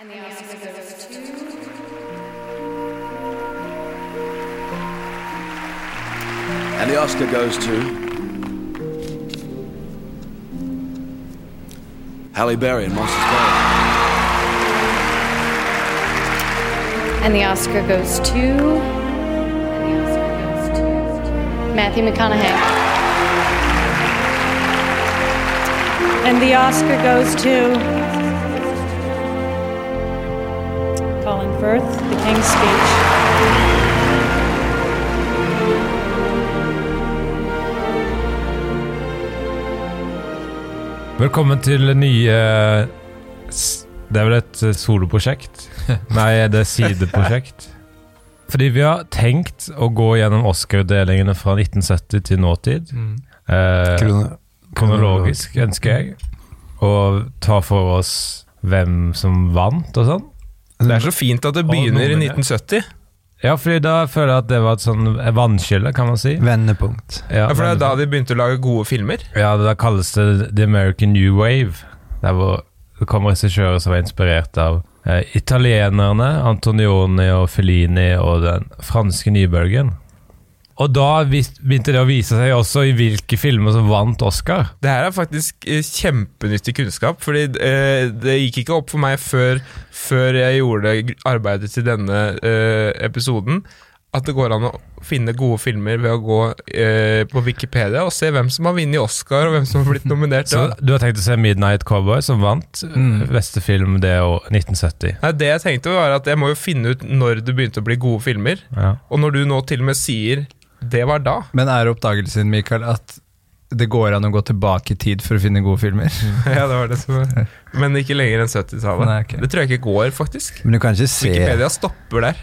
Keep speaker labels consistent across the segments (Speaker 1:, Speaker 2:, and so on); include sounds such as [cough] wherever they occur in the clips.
Speaker 1: And the Oscar goes to...
Speaker 2: And the Oscar goes to. Halle Berry in Monsters Ball.
Speaker 1: And the Oscar goes to... And the Oscar goes to... Matthew McConaughey.
Speaker 3: And the Oscar goes to Colin Firth, The King's Speech.
Speaker 4: Velkommen til nye eh, s- Det er vel et eh, soloprosjekt?
Speaker 5: [laughs]
Speaker 4: Nei, det er sideprosjekt. Fordi vi har tenkt å gå gjennom Oscar-delingene fra 1970 til nåtid.
Speaker 6: Mm.
Speaker 4: Eh, kronologisk, ønsker jeg. Og ta for oss hvem som vant og sånn.
Speaker 5: Det er så fint at det begynner i
Speaker 4: nummer, ja.
Speaker 5: 1970.
Speaker 4: Ja, fordi da føler jeg at det var et sånn eh, vannskille, kan man si.
Speaker 6: Vendepunkt.
Speaker 5: Ja, for det er da de begynte å lage gode filmer.
Speaker 4: Ja, det da kalles det The American New Wave. Der hvor det kom regissører som var inspirert av eh, italienerne, Antonioni og Fellini og den franske nybølgen. Og da vis- begynte det å vise seg også i hvilke filmer som vant Oscar.
Speaker 5: Det her er faktisk eh, kjempenyttig kunnskap, fordi eh, det gikk ikke opp for meg før, før jeg gjorde gr- arbeidet til denne eh, episoden, at det går an å finne gode filmer ved å gå eh, på Wikipedia og se hvem som har vunnet Oscar, og hvem som har
Speaker 4: [laughs]
Speaker 5: blitt nominert.
Speaker 4: Så du har tenkt å se Midnight Cowboy, som vant mm. beste film det år 1970.
Speaker 5: Nei, det jeg tenkte var at jeg må jo finne ut når det begynte å bli gode filmer,
Speaker 4: Ja.
Speaker 5: og når du nå til og med sier det var da.
Speaker 6: Men er oppdagelsen din, Mikael, at det går an å gå tilbake i tid for å finne gode filmer? [laughs]
Speaker 5: [laughs] Ja, det var det som var. Men ikke lenger enn 70-tallet.
Speaker 6: Nei, ok.
Speaker 5: Det tror jeg ikke går, faktisk.
Speaker 6: Men du kan, ikke se,
Speaker 5: Wikipedia stopper der.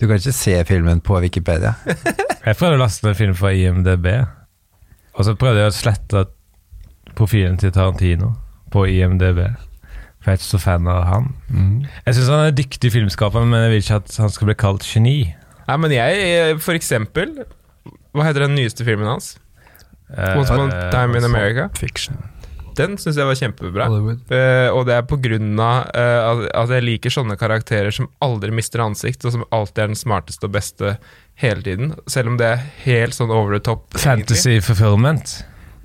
Speaker 6: du kan ikke se filmen på Wikipedia.
Speaker 4: Jeg prøvde å laste ned en film fra IMDb, og så prøvde jeg å slette profilen til Tarantino på IMDb. For jeg er ikke så fan av han.
Speaker 6: Mm.
Speaker 4: Jeg syns han er en dyktig filmskaper, men jeg vil ikke at han skal bli kalt geni.
Speaker 5: Nei, men jeg, eh, for eksempel Hva heter den nyeste filmen hans?
Speaker 4: Eh,
Speaker 5: Once Upon
Speaker 4: eh,
Speaker 5: a Time in America.
Speaker 6: Fiction.
Speaker 5: Den syns jeg var kjempebra.
Speaker 6: Hollywood.
Speaker 5: Eh, og det er på grunn av eh, at- at jeg liker sånne karakterer som aldri mister ansikt, og som alltid er den smarteste og beste hele tiden. Selv om det er helt sånn over the top. egentlig.
Speaker 4: Fantasy fulfillment.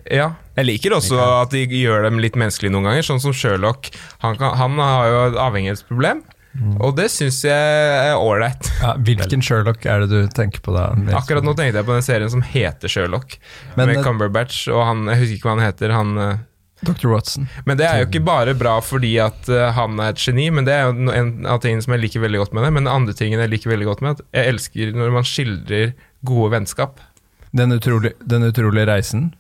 Speaker 5: Ja. Jeg liker også at de gjør dem litt menneskelige noen ganger, sånn som Sherlock. Han, kan, han har jo et avhengighetsproblem,
Speaker 6: Mm.
Speaker 5: og det syns jeg er ålreit.
Speaker 6: Ja, hvilken Sherlock er det du tenker på da?
Speaker 5: Akkurat nå tenkte jeg på den serien som heter Sherlock,
Speaker 6: Men,
Speaker 5: med
Speaker 6: eh,
Speaker 5: Cumberbatch og han Jeg husker ikke hva han heter. Han, eh,
Speaker 6: Dr. Watson.
Speaker 5: men det er jo ikke bare bra fordi at eh, han er et geni, men det er jo no- en av tingene som jeg liker veldig godt med det. Men den andre tingen jeg liker veldig godt med, at jeg elsker når man skildrer gode vennskap.
Speaker 6: Den utrolige, den utrolige reisen.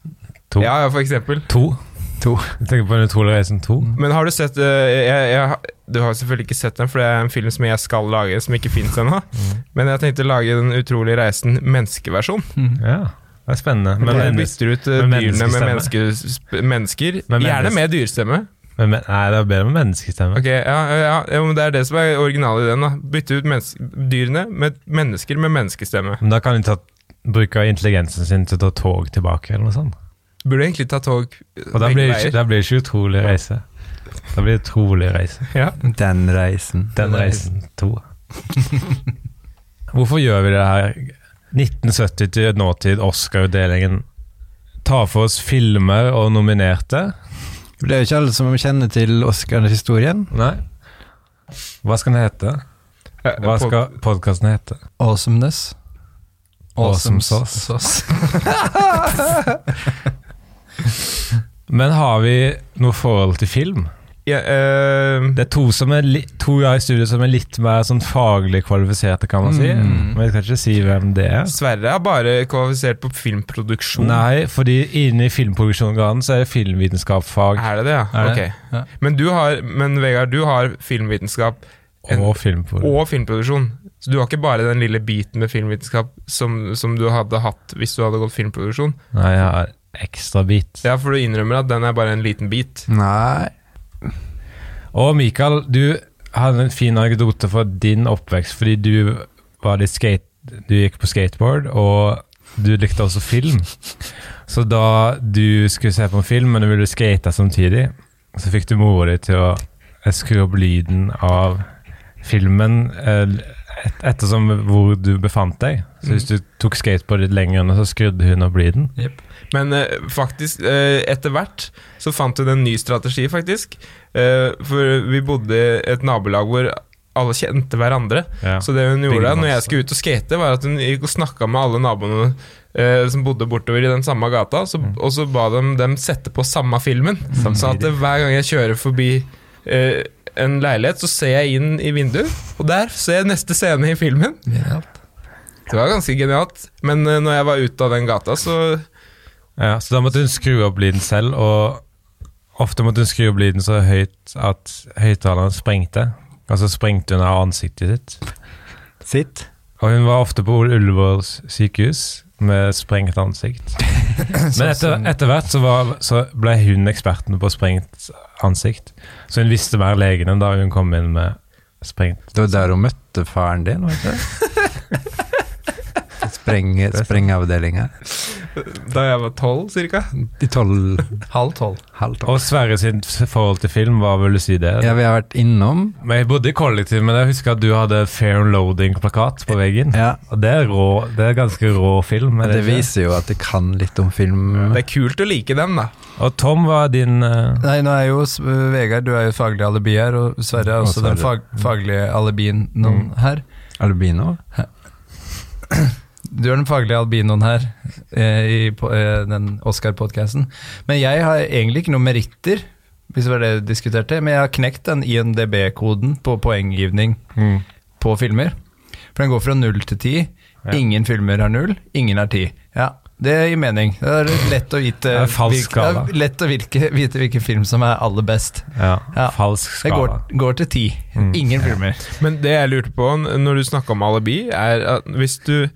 Speaker 4: To.
Speaker 5: Ja, ja, for eksempel.
Speaker 4: To.
Speaker 6: To.
Speaker 4: Jeg tenker på Den utrolige reisen to.
Speaker 5: Men har du sett eh, jeg, jeg, Du har selvfølgelig ikke sett den, for det er en film som jeg skal lage, som ikke fins ennå.
Speaker 4: Mm.
Speaker 5: Men jeg tenkte å lage Den utrolige reisen menneskeversjon.
Speaker 6: Mm.
Speaker 4: Ja, det er spennende. Men,
Speaker 5: Men
Speaker 4: men,
Speaker 5: bytter ut eh,
Speaker 4: med
Speaker 5: dyrene med
Speaker 4: menneskestemme.
Speaker 5: menneske- mennesker.
Speaker 4: Med
Speaker 5: Gjerne
Speaker 4: menneske-
Speaker 5: med dyrestemme.
Speaker 4: men, nei, det er bedre med menneskestemme.
Speaker 5: Ok, ja, ja, ja, men Det er det som er originalet i den. da Bytte ut mennes- dyrene med mennesker med menneskestemme.
Speaker 4: Men da kan de ta, bruke intelligensen sin til å ta tog tilbake, eller noe sånt.
Speaker 5: Burde egentlig ta tog eh,
Speaker 4: Og da
Speaker 5: begge
Speaker 4: blir det ikke,
Speaker 5: veier.
Speaker 4: da blir det ikke utrolig reise. Da blir det utrolig reise.
Speaker 6: Den reisen.
Speaker 4: Den reisen to. [laughs] Hvorfor gjør vi det her? 1970 til nåtid, Oscar-utdelingen. Ta for oss filmer og nominerte.
Speaker 6: Det er jo ikke alle som kjenner til Oscar-historien.
Speaker 4: Nei. Hva skal den hete?
Speaker 5: Eh,
Speaker 4: Hva
Speaker 5: på-
Speaker 4: skal podkasten hete?
Speaker 6: Awesomeness.
Speaker 4: Awesome sauce. Men har vi noe forhold til film?
Speaker 5: ja, eh,
Speaker 4: Det er to, som er li to jeg i studio som er litt mer sånn faglig kvalifiserte, kan man si. Men jeg kan ikke si hvem det er.
Speaker 5: Sverre er bare kvalifisert på filmproduksjon.
Speaker 4: Nei, fordi inne i filmproduksjonsgraden så er det filmvitenskapsfag
Speaker 5: Er det det, ja?
Speaker 6: Er det?
Speaker 5: Ok.
Speaker 6: Ja.
Speaker 5: Men, du har, men Vegard, du har filmvitenskap en-
Speaker 4: og filmproduksjon.
Speaker 5: og filmproduksjon. Så du har ikke bare den lille biten med filmvitenskap som, som du hadde hatt hvis du hadde gått filmproduksjon.
Speaker 4: Nei, jeg har ekstra bit.
Speaker 5: Ja, for du innrømmer at den er bare en liten bit.
Speaker 6: Nei
Speaker 4: Og Mikael, du hadde en fin anekdote fra din oppvekst, fordi du, var litt skate, du gikk på skateboard, og du likte også film. Så da du skulle se på en film, men du ville skate samtidig, så fikk du mora di til å eh, skru opp lyden av filmen eh, et, ettersom hvor du befant deg. Så hvis du tok skateboardet litt lenger unna, så skrudde hun opp lyden.
Speaker 5: Men eh, faktisk, eh, etter hvert så fant hun en ny strategi, faktisk. Eh, for vi bodde i et nabolag hvor alle kjente hverandre.
Speaker 4: Ja.
Speaker 5: Så det hun gjorde da
Speaker 4: Byggemanns.
Speaker 5: når jeg skulle ut og skate, var at hun gikk og snakka med alle naboene eh, som bodde bortover i den samme gata, så, og så ba de dem sette på samme filmen. Sånn at eh, hver gang jeg kjører forbi eh, en leilighet, så ser jeg inn i vinduet, og der ser jeg neste scene i filmen. Det var ganske genialt. Men eh, når jeg var ute av den gata, så
Speaker 4: Ja, så da måtte hun skru opp lyden selv, og ofte måtte hun skru opp lyden så høyt at høyttaleren sprengte. Og så sprengte hun av ansiktet sitt.
Speaker 6: Sitt.
Speaker 4: Og hun var ofte på Ole Ullevål sykehus med sprengt ansikt. Men etter, etter hvert så, var, så ble hun eksperten på sprengt ansikt. Så hun visste mer legene da hun kom inn med sprengt
Speaker 6: Det var der hun møtte faren din, var det ikke? Spreng, sprengavdeling her.
Speaker 5: Da jeg var tolv, cirka.
Speaker 6: I tolv
Speaker 5: Halv tolv.
Speaker 6: Halv tolv.
Speaker 4: Og Sverre sin forhold til film var vel å si det.
Speaker 6: Ja, vi har vært innom.
Speaker 4: Men jeg bodde i kollektiv, men jeg husker at du hadde Fair Loading-plakat på veggen.
Speaker 6: Ja.
Speaker 4: Og det er rå, det er ganske rå film. er
Speaker 6: Det
Speaker 4: ikke?
Speaker 6: viser jo at jeg kan litt om film.
Speaker 5: Det er kult å like dem, da.
Speaker 4: Og Tom var din eh,
Speaker 6: Nei, nå er jo s- Vegard, du er jo faglig alibi her, og Sverre er
Speaker 4: Og
Speaker 6: også den
Speaker 4: Sverre. Mm.
Speaker 6: fag, faglige alibinoen her. Albino? Du er den faglige albinoen her eh, i po- eh, den Oscar-podkasten. Men jeg har egentlig ikke noen meritter, hvis det var det du diskuterte, men jeg har knekt den INDB-koden på poenggivning
Speaker 4: Mm.
Speaker 6: på filmer. For den går fra null til ti.
Speaker 4: Ja.
Speaker 6: Ingen filmer har null, ingen har ti. Ja, det gir mening. Det er lett å vite,
Speaker 4: Det er falsk
Speaker 6: hvilke- det er
Speaker 4: skala.
Speaker 6: lett å virke, vite hvilken film som er aller best.
Speaker 4: ja,
Speaker 6: Ja.
Speaker 4: falsk
Speaker 6: Det går,
Speaker 4: skala. Mm.
Speaker 6: går til ti. Ingen filmer.
Speaker 5: Men det jeg lurte på n- når du snakka om alibi, er at hvis du,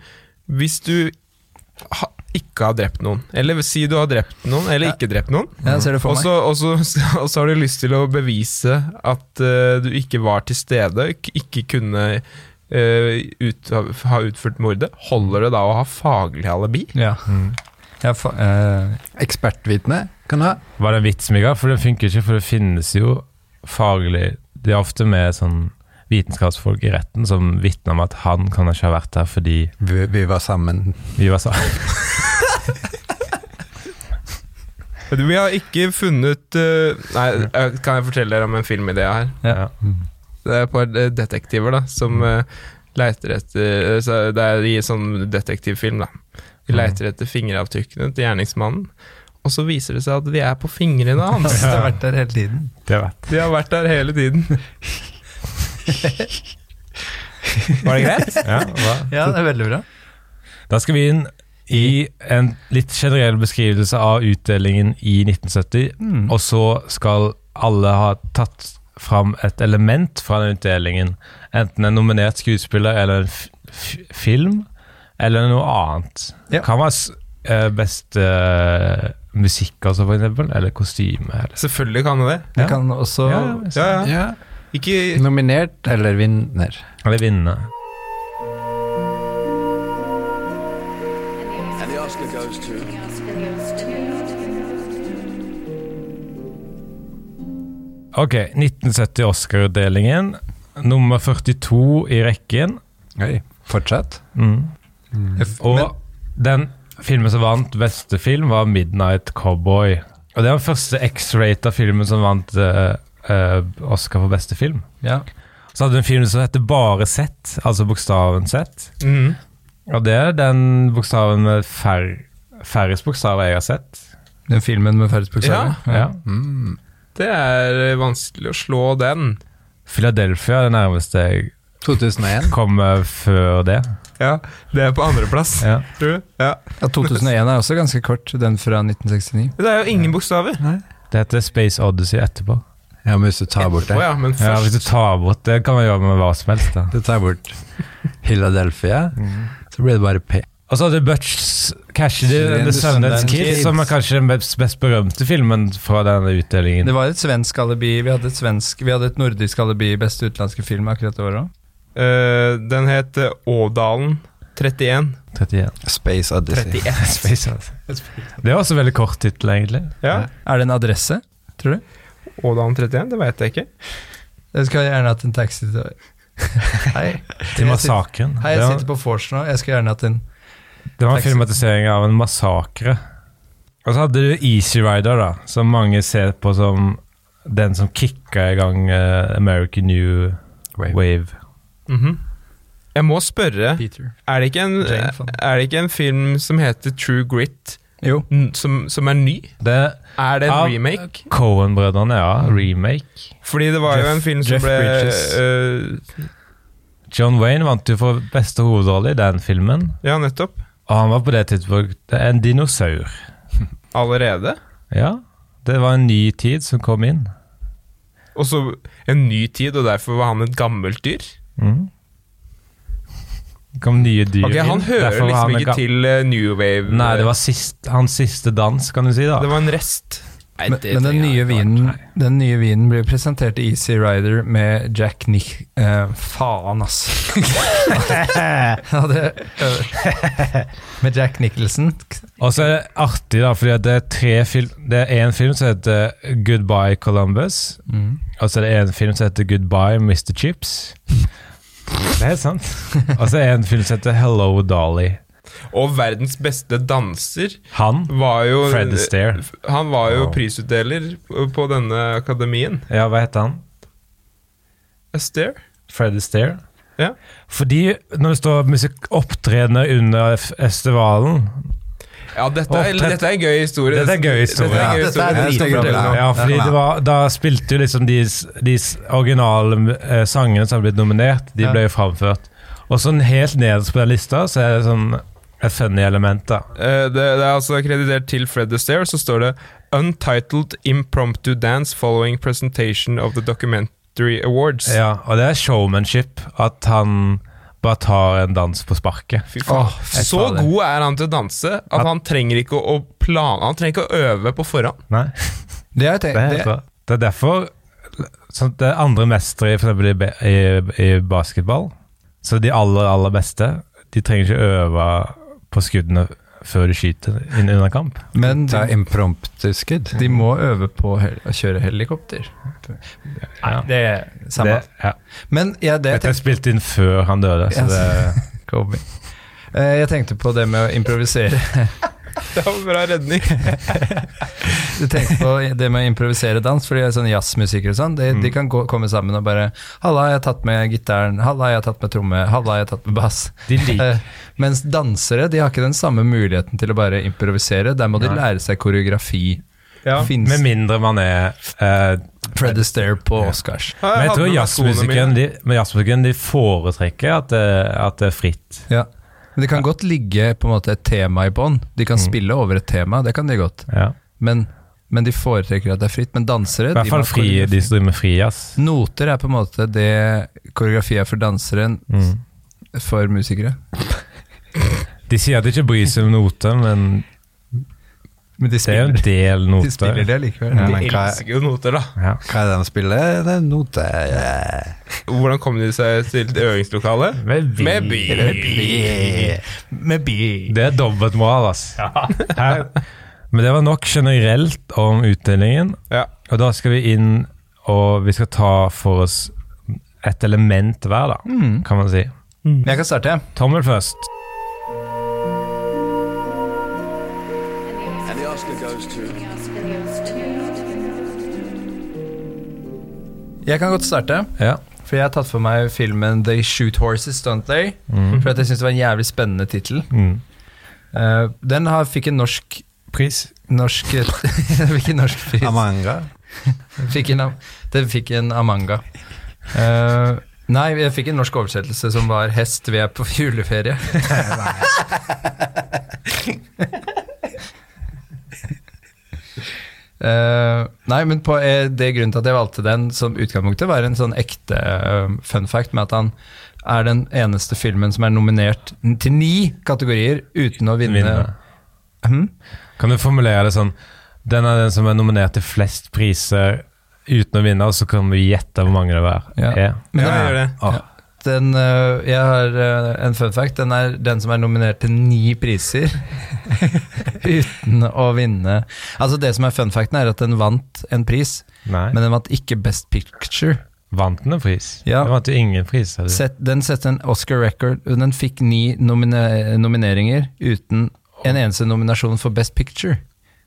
Speaker 5: hvis du ha, ikke har drept noen, eller si du har drept noen, eller ikke drept noen,
Speaker 6: Jeg ser det for
Speaker 5: og
Speaker 6: meg.
Speaker 5: så, og, så, [laughs] og så har du lyst til å bevise at eh, du ikke var til stede, ikke- ikke kunne eh, ut, ha utført mordet, holder det da å ha faglig alibi?
Speaker 6: Ja.
Speaker 4: Mm.
Speaker 6: Jeg fa eh, Ekspertvitne kan ha.
Speaker 4: Var det en vits, Mikael? For det funker ikke, for det finnes jo faglig De er ofte med sånn vitenskapsfolk i retten som vitner om at han kan ikke ha vært her fordi
Speaker 6: Vi, vi var sammen.
Speaker 4: vi var sammen.
Speaker 5: Vi har ikke funnet eh, Nei, eh, kan jeg fortelle dere om en filmidé her?
Speaker 4: Ja.
Speaker 5: Det er et par eh, detektiver da som eh, leiter etter eh, så Det er i en sånn detektivfilm, da. De leiter etter fingeravtrykkene til gjerningsmannen. Og så viser det seg at de er på fingrene [laughs] hans.
Speaker 6: Jeg har vært der hele tiden.
Speaker 4: Det vet
Speaker 5: De har vært der hele tiden. Var det greit?
Speaker 4: jeg. Ja, hva?
Speaker 6: Ja, det er veldig bra.
Speaker 4: Da skal vi inn i en litt generell beskrivelse av utdelingen i 1970,
Speaker 6: Mm.
Speaker 4: og så skal alle ha tatt fram et element fra den utdelingen. Enten en nominert skuespiller eller en f f film, eller noe annet.
Speaker 6: Ja.
Speaker 4: Kan være s- eh, beste musikk, altså, for eksempel, eller kostyme. Eller.
Speaker 5: Selvfølgelig kan det det.
Speaker 6: Vi
Speaker 4: Ja.
Speaker 6: kan også
Speaker 4: Ja, ja,
Speaker 5: Ja, ja.
Speaker 6: Ja.
Speaker 5: Ikke
Speaker 6: Nominert eller vinner.
Speaker 4: Eller vinne.
Speaker 2: And the Oscar goes to.
Speaker 4: Ok, 1970 Oscar-utdelingen. Nummer 42 i rekken.
Speaker 6: Oi. Fortsatt.
Speaker 4: Mm. Og den filmen som vant beste film, var 'Midnight Cowboy'. Og det var den første X-rata filmen som vant eh, eh, Oscar for beste film.
Speaker 6: Ja.
Speaker 4: Så hadde du en film som heter bare Z, altså bokstaven Z.
Speaker 5: Mhm.
Speaker 4: Og det er den bokstaven med fær færrest bokstaver jeg har sett.
Speaker 6: Den filmen med færrest bokstaver.
Speaker 4: Ja.
Speaker 6: Mm.
Speaker 5: Det er eh, vanskelig å slå den.
Speaker 4: Philadelphia er det nærmeste jeg
Speaker 6: 2001.
Speaker 4: kommer før det.
Speaker 5: Ja, Det er på andreplass,
Speaker 4: Ja.
Speaker 5: tror du? Ja.
Speaker 6: Ja, 2001 er også ganske kort, den fra 1969.
Speaker 5: Det er jo ingen bokstaver.
Speaker 4: Det heter Space Odyssey etterpå.
Speaker 6: Ja, men hvis du tar bort
Speaker 5: Å ja, men
Speaker 4: Ja, hvis du
Speaker 5: først
Speaker 4: tar bort det, kan man gjøre med hva som helst. da.
Speaker 6: Du tar bort Philadelphia,
Speaker 5: Mm.
Speaker 6: så blir det bare P.
Speaker 4: Og så hadde Butch Cashy
Speaker 6: The
Speaker 4: The, the Sundance
Speaker 6: Sundance
Speaker 4: Kid,
Speaker 6: Kid.
Speaker 4: som er kanskje den best, best berømte filmen fra denne utdelingen.
Speaker 6: Det var et svensk alibi. Vi hadde et, svensk, vi hadde et nordisk alibi i beste utenlandske film akkurat det året òg.
Speaker 5: Eh, Den het eh, Ådalen 31.
Speaker 4: 31.
Speaker 6: Space Odyssey.
Speaker 4: [laughs]
Speaker 5: 31.
Speaker 4: Space Odyssey. Det er også veldig kort tittel, egentlig.
Speaker 5: Ja.
Speaker 6: Er det en adresse, tror du?
Speaker 5: Ådalen 31, det veit jeg ikke.
Speaker 6: Jeg skulle gjerne hatt en
Speaker 4: [laughs]
Speaker 6: taxi til Hei.
Speaker 4: Til massakren.
Speaker 6: Hei,
Speaker 4: Det
Speaker 6: jeg
Speaker 4: var-
Speaker 6: sitter på vors nå. Jeg skulle gjerne hatt en
Speaker 4: Det var en
Speaker 6: Taxi.
Speaker 4: filmatisering av en massakre. Og så hadde du Easy Rider, da, som mange ser på som den som kicka i gang eh, American New Wave.
Speaker 5: Mhm. Jeg må spørre,
Speaker 6: Peter.
Speaker 5: er det, ikke en,
Speaker 6: Jane Fonda.
Speaker 5: er det ikke en film som heter True Grit,
Speaker 6: Jo.
Speaker 5: n- som, som er ny?
Speaker 4: Det
Speaker 5: Er det en
Speaker 4: Av-
Speaker 5: remake?
Speaker 4: Cohen-brødrene, ja.
Speaker 6: Mm.
Speaker 4: Remake.
Speaker 5: Fordi det var jo
Speaker 6: Jeff-
Speaker 5: en film som
Speaker 6: Jeff
Speaker 5: ble
Speaker 6: Bridges.
Speaker 5: øh,
Speaker 4: John Wayne vant jo for beste hovedrolle i den filmen.
Speaker 5: Ja, nettopp.
Speaker 4: Og han var på det tidspunktet en dinosaur.
Speaker 5: Allerede.
Speaker 4: Ja, det var en ny tid som kom inn.
Speaker 5: Og så en ny tid, og derfor var han et gammelt dyr.
Speaker 4: Mm. Det kom nye dyr
Speaker 5: Ok, Han
Speaker 4: inn.
Speaker 5: hører
Speaker 4: Derfor var
Speaker 5: liksom
Speaker 4: han en
Speaker 5: ikke
Speaker 4: ga-
Speaker 5: til øh, New Wave.
Speaker 4: Nei, det var sist, hans siste dans, kan du si. da
Speaker 5: Det var en rest. Nei,
Speaker 6: Men,
Speaker 5: det
Speaker 6: men den,
Speaker 5: trenger
Speaker 6: nye
Speaker 5: jeg ikke.
Speaker 6: vinen,
Speaker 5: Nei.
Speaker 6: den nye vinen blir presentert i Easy Rider med Jack Nich... eh, faen, ass. ja, det, eh, med Jack Nicholson.
Speaker 4: Og så er det artig, da, fordi at det er tre film Det er én film som heter Goodbye Columbus,
Speaker 6: Mm.
Speaker 4: og så er det én film som heter Goodbye Mr. Chips. Det er helt
Speaker 5: [laughs]
Speaker 4: sant. Og så er det en film som heter Hello Dolly.
Speaker 5: Og verdens beste danser
Speaker 4: Han,
Speaker 5: var jo
Speaker 4: Fred Astaire.
Speaker 5: Han var jo
Speaker 4: Wow.
Speaker 5: prisutdeler på denne akademien.
Speaker 4: Ja, hva heter han?
Speaker 5: Astaire?
Speaker 4: Fred Astaire.
Speaker 5: Ja.
Speaker 4: Fordi når det står musikk opptredener under f- festivalen
Speaker 5: Ja, dette
Speaker 4: Åh,
Speaker 5: er,
Speaker 4: tett-
Speaker 5: dette er en gøy historie.
Speaker 4: Dette er en gøy historie.
Speaker 5: Dette er en gøy
Speaker 6: Ja, dette er
Speaker 5: historie.
Speaker 6: dritbra.
Speaker 5: Jeg skal fortelle
Speaker 6: Ja.
Speaker 5: det.
Speaker 4: Ja, fordi det var, da spilte jo liksom de, s- de s- originale eh, sangene som hadde blitt nominert, de
Speaker 6: Ja.
Speaker 4: ble jo framført. Og sånn helt nederst på den lista så er det sånn et funny element, da.
Speaker 5: Eh, det, det er altså kreditert til Fred Astaire, så står det Untitled Impromptu Dance Following Presentation of the Documentary Awards.
Speaker 4: Ja, og det er showmanship. At han bare tar en dans på sparket.
Speaker 5: Fy faen.
Speaker 6: Åh, fy
Speaker 5: så
Speaker 6: fader.
Speaker 5: god er han til å danse at han trenger ikke å, å plan, han trenger ikke å øve på forhånd.
Speaker 4: Nei,
Speaker 6: Det har jeg
Speaker 4: det er
Speaker 6: tenkt.
Speaker 4: helt
Speaker 6: Det,
Speaker 4: bra. Det er derfor sånn, at det er andre mestere i, for eksempel i, be- i, i basketball. Så de aller, aller beste, de trenger ikke øve på skuddene før de skyter inn under kamp.
Speaker 6: men det er impromptuskudd. De må øve på hel å kjøre helikopter.
Speaker 4: Ja.
Speaker 6: Det er samme.
Speaker 4: Det, ja.
Speaker 6: Men ja, det jeg
Speaker 4: Dette er spilt inn før han døde, så
Speaker 6: Ja,
Speaker 4: det
Speaker 6: Kobe. Eh, Jeg tenkte på det med å improvisere.
Speaker 5: [laughs] Det var bra redning.
Speaker 6: [laughs] Du tenkte på det med å improvisere dans, fordi jeg er sånn jazzmusikere og sånn, de,
Speaker 5: Mm.
Speaker 6: de kan gå, komme sammen og bare 'Halla, jeg har tatt med gitaren. Halla, jeg har tatt med tromme. Halla, jeg har tatt med bass.'
Speaker 4: De liker-
Speaker 6: Eh, mens dansere, de har ikke den samme muligheten til å bare improvisere. Der må de lære seg koreografi.
Speaker 5: Ja.
Speaker 6: Finnes
Speaker 4: Med mindre man er eh,
Speaker 6: Fred Astaire på Oscars.
Speaker 5: Ja,
Speaker 4: Men jeg tror
Speaker 5: hadde med meg skoene
Speaker 4: jazzmusikeren
Speaker 5: mine.
Speaker 4: de, men jazzmusikeren, de foretrekker at det, at det er fritt.
Speaker 6: Ja. Men de kan godt ligge på en måte et tema i bånn. De kan
Speaker 5: Mm.
Speaker 6: spille over et tema, det kan de godt.
Speaker 4: Ja.
Speaker 6: Men, men de foretrekker at det er fritt. Men dansere
Speaker 4: I hvert
Speaker 6: de
Speaker 4: fall
Speaker 6: må
Speaker 4: fri,
Speaker 6: koreografi.
Speaker 4: de som driver med frijazz.
Speaker 6: Noter er på en måte det koreografi er for danseren,
Speaker 4: Mm.
Speaker 6: for musikere.
Speaker 4: De sier at de ikke bryr seg om noter, men
Speaker 6: Men de
Speaker 4: det er jo en
Speaker 6: spiller,
Speaker 4: del
Speaker 6: de spiller
Speaker 4: noter.
Speaker 6: det likevel.
Speaker 7: Ja,
Speaker 5: De
Speaker 7: men hva,
Speaker 5: elsker jo noter, da.
Speaker 4: Ja.
Speaker 7: hva er det de spiller? Det er noter.
Speaker 5: Hvordan kom de seg til øvingslokalet?
Speaker 4: Med bi-
Speaker 5: Med bil.
Speaker 4: Det er dobbeltmoral, ass. Her. Men det var nok generelt om utdelingen.
Speaker 5: Ja.
Speaker 4: Og da skal vi inn, og vi skal ta for oss et element hver, da, kan man si.
Speaker 6: Jeg kan starte.
Speaker 4: Tommel først.
Speaker 2: And the Oscar goes to.
Speaker 6: Jeg kan godt starte,
Speaker 4: Ja.
Speaker 6: for jeg har tatt for meg filmen They Shoot Horses, Don't They? For at jeg syns det var en jævlig spennende tittel.
Speaker 4: Mm.
Speaker 6: Eh, den har, fikk en norsk
Speaker 4: Pris.
Speaker 6: Norsk [laughs] Fikk en norsk pris.
Speaker 7: Amanga.
Speaker 6: Fikk en, am- den fikk en Amanga. Eh, nei, jeg fikk en norsk oversettelse som var 'Hest, vi er på juleferie'. [laughs] Eh, nei, men på, eh, det grunnen til at jeg valgte den som utgangspunktet, var en sånn ekte eh, fun fact med at han er den eneste filmen som er nominert n- til ni kategorier uten å vinne.
Speaker 4: Vinne.
Speaker 6: Mhm.
Speaker 4: Kan du formulere det sånn Den er den som er nominert til flest priser uten å vinne, og så kan vi gjette hvor mange det er. Ah.
Speaker 6: Ja.
Speaker 4: er.
Speaker 6: Men
Speaker 5: Ja,
Speaker 6: den er-
Speaker 5: gjør det.
Speaker 4: Åh,
Speaker 6: Den, øh, jeg har øh, en fun fact. Den er den som er nominert til ni priser [laughs] uten å vinne. Altså Det som er fun facten, er at den vant en pris,
Speaker 4: Nei.
Speaker 6: men den vant ikke Best Picture.
Speaker 4: vant den en pris?
Speaker 6: Ja.
Speaker 4: Den vant jo ingen pris. Eller?
Speaker 6: Sett, den setter en Oscar record. Den fikk ni nomine nomineringer uten en eneste nominasjon for Best Picture.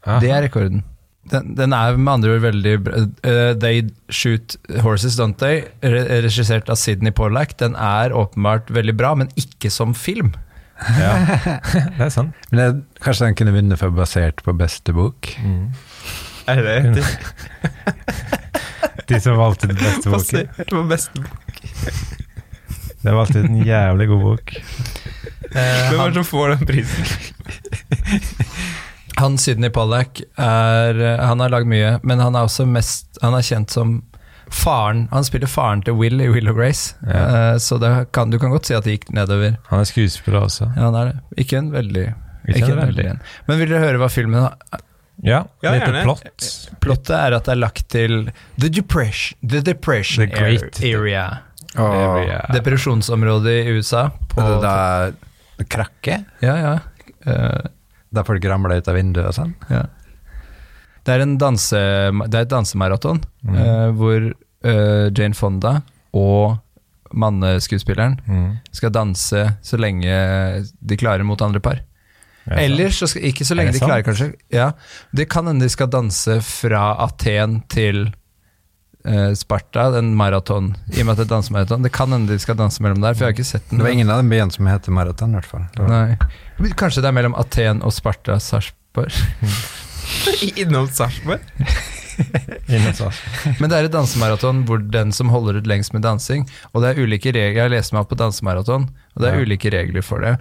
Speaker 4: Aha.
Speaker 6: Det er rekorden. Den, den er med andre ord veldig bra. Eh, They Shoot Horses Don't They, re regissert av Sidney Pollack, den er åpenbart veldig bra, men ikke som film.
Speaker 4: Ja. [laughs] det er sant.
Speaker 7: Men jeg, kanskje den kunne vunnet for basert på beste bok?
Speaker 6: Mm.
Speaker 5: Er det det?
Speaker 4: [laughs] De som valgte den beste boken.
Speaker 5: Basert på beste bok.
Speaker 4: De valgte en jævlig god bok.
Speaker 6: Eh,
Speaker 5: Hvem er det som får den prisen? [laughs]
Speaker 6: Han Sidney Pollack er, eh, han har lagd mye, men han er også mest Han er kjent som faren Han spiller faren til Will i Will og Grace,
Speaker 4: Ja.
Speaker 6: Eh, så det kan, du kan godt si at det gikk nedover.
Speaker 4: Han er skuespiller også.
Speaker 6: Ja, han er det. Ikke en veldig
Speaker 4: Ikke
Speaker 6: ikke
Speaker 4: en
Speaker 6: en veldig en. Men vil dere høre hva filmen har?
Speaker 4: Ja,
Speaker 5: Ja,
Speaker 4: litt
Speaker 5: gjerne.
Speaker 4: plott.
Speaker 6: Plottet er at det er lagt til The Depression, the depression
Speaker 4: The Great
Speaker 6: Air- Area.
Speaker 7: Åh,
Speaker 4: Ja.
Speaker 6: Depresjonsområdet i USA. På,
Speaker 7: og det da krakke?
Speaker 6: Ja, ja. Eh,
Speaker 7: Da folk ramler ut av vinduet og sånn?
Speaker 6: ja. Det er, en danse, det er et dansemaraton
Speaker 4: Mhm.
Speaker 6: eh, hvor eh, Jane Fonda og manneskuespilleren
Speaker 4: Mm.
Speaker 6: skal danse så lenge de klarer mot andre par.
Speaker 4: Ja, sant.
Speaker 6: Eller så skal, ikke så
Speaker 4: Er
Speaker 6: lenge
Speaker 4: det
Speaker 6: de klarer, kanskje. Ja, Det kan hende de skal danse fra Aten til eh, Sparta, den maraton, i og med at det er dansemaraton. Det kan hende de skal danse mellom der, for jeg har ikke sett den.
Speaker 7: Det var ingen av de byene som heter Maraton, i hvert fall. Det var-
Speaker 6: Nei. Men Kanskje det er mellom Aten og Sparta, Sarpsborg.
Speaker 5: Innom Sarpsborg?
Speaker 4: Inne hos oss.
Speaker 6: Men det er et dansemaraton hvor den som holder ut lengst med dansing, og det er ulike regler, jeg leste meg opp på dansemaraton, og det er
Speaker 4: Ja.
Speaker 6: ulike regler for det.